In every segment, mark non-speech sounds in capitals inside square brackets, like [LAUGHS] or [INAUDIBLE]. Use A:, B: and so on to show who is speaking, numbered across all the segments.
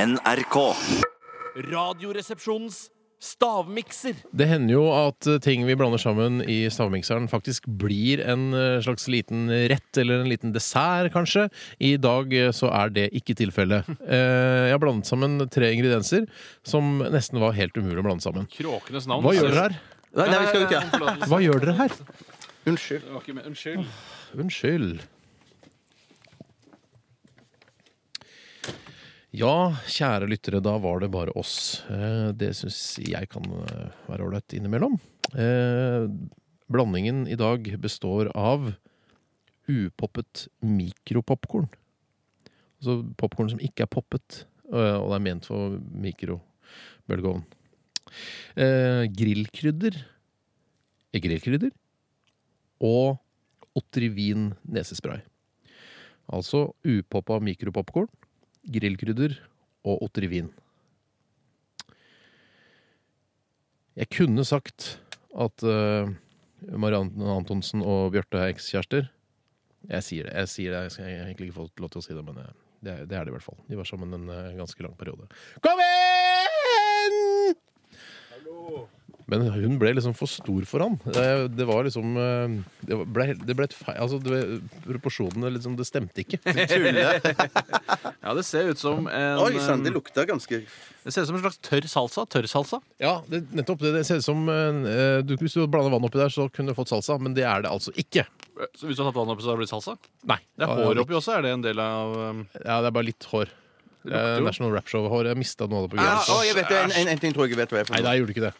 A: NRK.
B: Radioresepsjonens stavmikser.
C: Det hender jo at eh, ting vi blander sammen i stavmikseren, faktisk blir en eh, slags liten rett eller en liten dessert, kanskje. I dag eh, så er det ikke tilfellet. Eh, Jeg har blandet sammen tre ingredienser som nesten var helt umulig å blande sammen.
D: Kråkenes navn.
C: Hva gjør dere her?
A: Nei, nei, vi skal jo ikke
C: Hva gjør dere her?
A: Unnskyld.
D: Det var ikke med- Unnskyld.
C: Unnskyld. Ja, kjære lyttere, da var det bare oss. Eh, Det syns jeg kan eh, være ålreit innimellom. Eh, Blandingen i dag består av upoppet mikropopkorn. Altså popkorn som ikke er poppet, eh, og det er ment for mikrobølgeovn. Eh, Grillkrydder. eh, Grillkrydder. Og Otrivin nesespray. Altså upoppa mikropopkorn, grillkrydder og Otrivin. Jeg kunne sagt at uh, Marianne Antonsen og Bjarte er ekskjærester. Jeg sier det. Jeg sier det, jeg skal egentlig ikke få lov til å si det, men eh, det er det, er det i hvert fall. De var sammen en eh, ganske lang periode. Kom igjen! Men hun ble liksom for stor for han. Det, det var liksom eh, Det ble, det ble et feil altså, det, Proporsjonene liksom, det stemte
D: [LAUGHS]
C: ikke.
D: Ja, det ser ut som en
A: Oi sann, det
D: eh,
A: lukta ganske
D: Det ser ut som en slags tørr salsa. Tørr salsa.
C: Ja, det, nettopp det. Det ser ut som eh, du, Hvis du blanda vann oppi der, så kunne du fått salsa, men det er det altså ikke.
D: Så hvis du har tatt vann oppi, så har det blitt salsa?
C: Nei.
D: Det er hår oppi også, er det en del av um,
C: Ja, det er bare litt hår. Eh,
D: jo.
C: National Rap Show-hår. Jeg mista noe av det på
A: ah,
C: grunn
A: å, jeg vet det, en, en, en ting tror jeg jeg vet hva jeg er
C: Nei,
A: for noe.
C: jeg gjorde ikke det.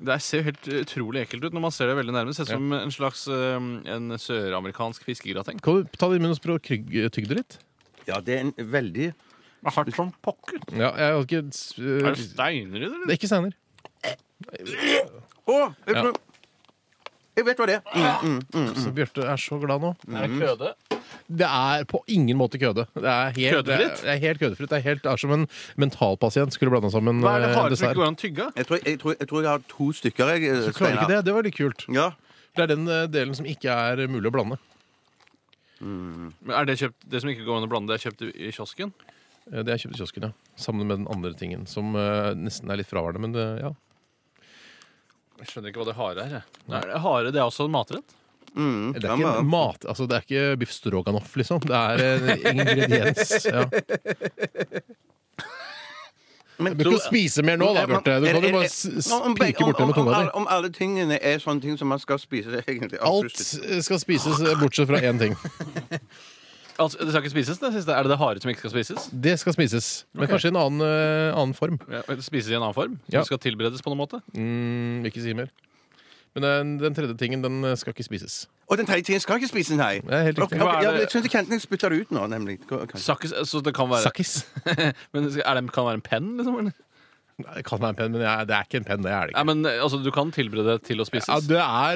D: Det ser jo helt utrolig ekkelt ut når man ser det veldig nærme. Det ser ut som en slags um, en søramerikansk fiskegrateng.
C: Kan du ta det i munnen og prøve å krygge- tygge det litt?
A: Ja, det er en veldig
D: Hardt som pokker.
C: Ja, jeg har ikke
D: Er det
C: eh,
D: steiner i det?
C: Det
D: eller?
C: er ikke steiner.
A: Å! Jeg,
C: Ja.
A: tror- jeg vet hva det er. Mm, mm, mm.
C: Så Bjarte er så glad nå.
D: Er det køde?
C: Det er på ingen måte køde. Det er helt, det er,
D: Kødefritt?
C: det er helt kødefritt. Det er, helt, det er som en mentalpasient skulle blanda sammen
D: Hva er det
C: eh,
D: harde som
C: dessert.
D: ikke går an å tygge? av?
A: Jeg, tror, jeg, tror, jeg tror jeg har to stykker, jeg.
C: Du klarer ikke det? Det var litt kult.
A: Ja.
C: Det er den eh, delen som ikke er mulig å blande.
D: Men Er det, kjøpt, det som ikke går an å blande, det er kjøpt i i kiosken?
C: Eh, Det er kjøpt i kiosken, ja. Sammen med den andre tingen, som eh, nesten er litt fraværende, men det, ja.
D: Jeg skjønner ikke hva det hare er. jeg. Nei, Hare det er også en matrett?
A: Mm,
C: Det er
A: ja,
C: ikke
A: men-
C: en mat, altså det er ikke biff stroganoff, liksom. Det er en ingrediens. Ja.
A: men
C: Du bør ikke
A: tror-
C: spise mer nå, da,
A: Er man-
C: Bjarte. Du
A: er-
C: kan jo
A: er-
C: bare
A: er-
C: s- s-
A: om- om-
C: pirke
A: om-
C: borti med
A: om-
C: tunga
A: om-
C: di.
A: Om alle tingene er sånne ting som man skal spise, det er egentlig absolutt
C: Alt skal spises eh, bortsett fra én ting.
D: Altså, det skal ikke spises? Det siste. Er det det hare som ikke skal spises?
C: Det skal spises, men kanskje i en annen, eh, annen form.
D: Ja, eller Spises i en annen form? Som
C: Ja.
D: skal tilberedes på noen måte?
C: Mm, vil ikke si mer. Men den, den tredje tingen den eh, skal ikke spises.
A: Og den tredje tingen skal ikke spise, nei.
C: Det er helt
A: Ok,
C: riktig.
A: ok,
D: Hva er
A: ja,
D: det-
A: jeg syns jeg kjente den spytta det ut nå, nemlig. Kanskje.
D: Sakkes, så det kan være
C: Sakkis.
D: Men er det, kan det være en penn, liksom? eller?
C: Nei, Det kan være en penn, men jeg, det er ikke en penn. Det er det
D: Nei,
C: ikke.
D: men altså, Du kan tilberede det til å spises.
C: Ja,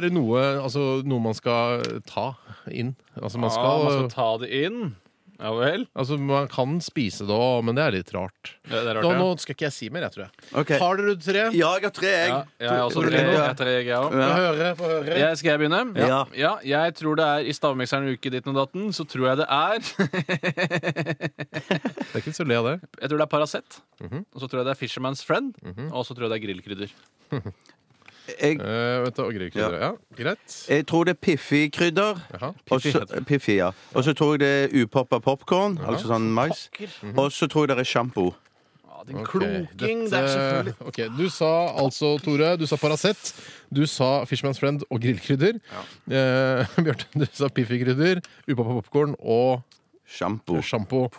C: det er noe, altså, noe man skal ta inn. Altså, man
D: ah,
C: skal,
D: man skal ta det inn. Ja vel.
C: altså, man kan spise det òg, men det er litt rart.
D: Det, det er rart,
C: Nå,
D: ja.
C: nå skal ikke jeg si mer, jeg, tror jeg.
A: Ok.
C: Har dere tre?
A: Ja, jeg har tre, jeg.
D: ja, jeg er også tre. Jeg er tre, jeg også.
C: Få høre, få høre.
D: Jeg, skal jeg begynne?
A: Ja.
D: Jeg tror det er i stavmikseren uke ditt og datten, så tror jeg det er
C: Det er ikke så le av det.
D: Jeg tror det er Paracet. Og så tror jeg det er Fisherman's Friend. Og så tror jeg det er grillkrydder.
A: Jeg,
C: Eh, vent da, og grillkrydder. Ja. greit.
A: jeg tror det er Piffi-krydder.
C: Jaha.
A: Og så-
D: heter
A: Piffi, ja. Og så tror jeg det er upoppa popkorn, altså sånn mais. Og så tror jeg det er sjampo.
D: Ja, din
C: Ok,
D: kloking! Det er
C: dette-
D: selvfølgelig
C: Ok, Du sa altså, Tore, du sa Paracet, du sa Fishman's Friend og grillkrydder. Eh, [LAUGHS] Bjarte, du sa Piffi-krydder, upappa popkorn og
A: Sjampo.
C: sjampo.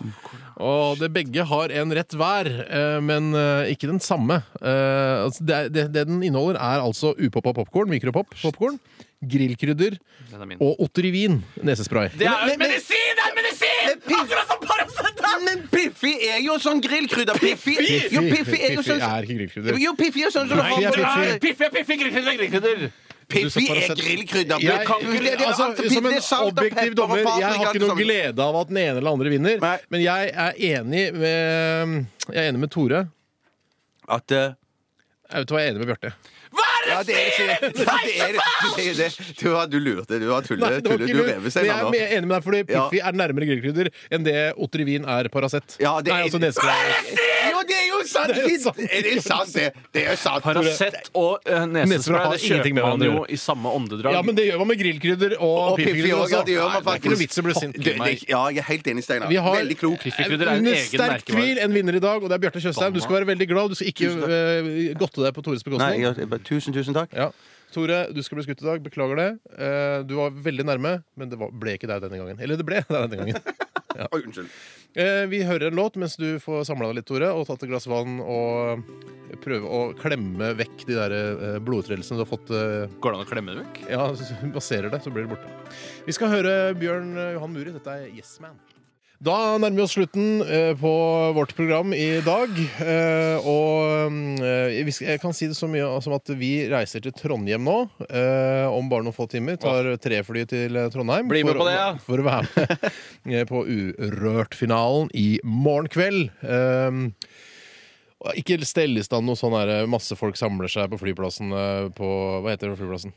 C: Og det begge har en rett hver, eh, men eh, ikke den samme. Eh, altså, det, er- det, det den inneholder, er altså upoppa popkorn, mikropop, popkorn, grillkrydder
D: Den er min.
C: og Otrivin nesespray.
D: Det er jo medisin! Det er medisin! Akkurat som Paracet!
A: Men Piffi er jo sånn grillkrydder. Piffi Jo, Piffi er jo
C: Piffi
A: sånn
C: er ikke grillkrydder.
A: Jo, Piffi er sånn som du
C: Nei, jeg
A: har
C: er
A: på
C: Piffi.
D: Piffi, piffi, grillkrydder, grillkrydder!
A: Piffi
C: Du sa
A: er
C: Paracet.
A: grillkrydder.
C: Jeg,
A: Det er- det er-
C: altså,
A: alt- Piffi
C: som en
A: er salt og
C: objektiv
A: pepper og
C: dommer, jeg
A: paprika,
C: har ikke noe
A: alt sammen.
C: glede av at den ene eller andre vinner,
A: Nei.
C: men jeg er enig med Jeg er enig med Tore.
A: At eh,
C: Jeg vet hva jeg er enig med Bjarte.
D: Hva er
A: Ja, det er ikke det! Ja, det, er det. det, er det. Du, har- du lurte. Du har tullet.
C: det var ikke
A: tullet. Du
C: lurt.
A: vever
C: Men
A: seg
C: jeg er
A: nå.
C: med- enig med deg, fordi
A: Ja.
C: Piffi er nærmere grillkrydder enn det Otrivin er Paracet.
A: Ja, det
C: Nei,
A: er-
C: altså nesespray.
A: Jo, det er jo sant!
C: Det er jo sant.
A: Er det sant, det? Det er jo sant.
D: Paracet og eh,
C: Nesespray
D: nesespray
C: har
D: det
C: ingenting
D: kjøper
C: med
D: man
C: hverandre
D: jo i samme åndedrag.
C: Ja, men det gjør man med grillkrydder og,
A: Og Piffi
C: Piffi-krydder
A: også,
C: også.
A: det gjør man
C: Nei, det er ikke
A: faktisk.
C: noe vits i å bli sint.
A: Det- det- Ja, jeg er helt enig, Steinar.
C: Vi har
A: Veldig klok.
D: Piffi-krydder er en
C: under
D: egen
C: sterk
D: merkevare.
C: tvil en vinner i dag, og det er Bjarte Tjøstheim. Du skal være veldig glad. Du skal ikke eh, godte deg på Tores
A: Nei,
C: bekostning.
A: jeg, bare, tusen, tusen takk.
C: Ja. Tore, du skal bli skutt i dag. Beklager det. Eh, du var veldig nærme, men det var, ble ikke deg denne gangen. Eller det ble deg denne
A: [LAUGHS]
C: gangen.
A: Oi, unnskyld.
C: Eh, vi hører en låt mens du får samla deg litt, Tore, og tatt et glass vann og prøve å klemme vekk de der eh, blodutredelsene du har fått. eh,
D: Går det an å klemme det vekk?
C: ja, [LAUGHS] baserer det, så blir det borte. Vi skal høre Bjørn eh, Johan Muri. Dette er Yes Man. Da nærmer vi oss slutten eh, på vårt program i dag. Eh, og mm, eh, vi skal- jeg kan si det så mye som at vi reiser til Trondheim nå eh, om bare noen få timer. Tar tre fly til eh, Trondheim
D: Bli med
C: for,
D: på det, ja.
C: [LAUGHS] for å være med eh, på Urørt-finalen i morgen kveld. Eh, og ikke stell i stand noe sånn her masse folk samler seg på flyplassen eh, på Hva heter den flyplassen?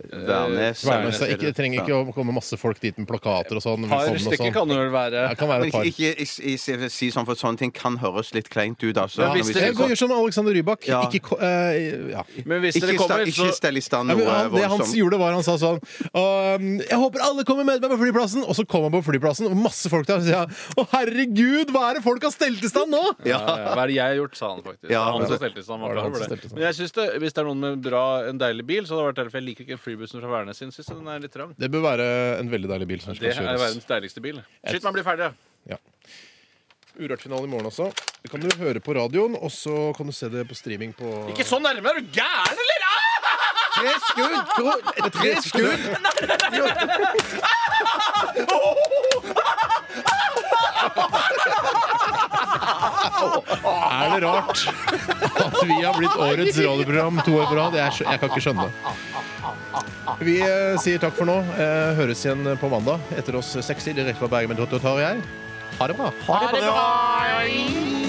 C: Eh,
A: Værnes.
C: Værnes, det ikke, det trenger ikke å komme masse folk dit med plakater og sånn.
D: Par
C: velkommen og
D: stykker
C: sånn.
D: kan det vel være.
C: Det kan være
A: Men
C: et par.
A: ikke, ikke i- i- si- si sånn, for sånne ting kan høres litt kleint ut, altså.
D: Ja,
A: Når
D: hvis
A: vi
D: det-
A: skal
C: Jeg
A: gå-
C: går- gjør som sånn Alexander Rybak.
A: Ja.
C: Ikke, ko- eh, ja.
D: Men hvis
A: Ikke,
D: dere
A: sta,
D: kommer,
A: ikke
D: så
A: stell i stand
C: Ja,
A: noe
C: men han, det han
A: voldsomt.
C: gjorde, var han sa sånn «Ehm, Jeg håper alle kommer med meg på flyplassen! Og så kom han på flyplassen, og masse folk der. Og så sier han Å, herregud, hva er det folk har stelt i stand nå?!
D: Ja, ja. Hva er det jeg har gjort, sa han faktisk.
A: Ja,
D: han
A: men-
D: som stelte i stand, var
C: Var det
D: klar
C: han som
D: over det.
C: stelte i stand?
D: Men jeg synes det, hvis det er noen med bra, en deilig bil, så hadde det vært deilig, for jeg liker ikke flybussen fra Værnes sin. Syns jeg den er litt trang.
C: Det bør være en veldig deilig bil som skal
D: Det er
C: kjøres.
D: verdens deiligste bil. Skyt meg, bli ferdig.
C: Urørt-finale i morgen også. Det kan du høre på radioen, og så kan du se det på streaming på
D: Ikke så nærme! Er du gæren, eller?!
A: Tre skudd! Tro, tre skudd!
C: Er det rart at vi har blitt årets radioprogram to år på rad? Jeg, skjø- jeg kan ikke skjønne det. Vi eh, sier takk for nå. Eh, høres igjen på mandag. Etter oss sexy direkte fra Bergen med Dr. Tarjei. Ha det bra.
D: Ha det bra!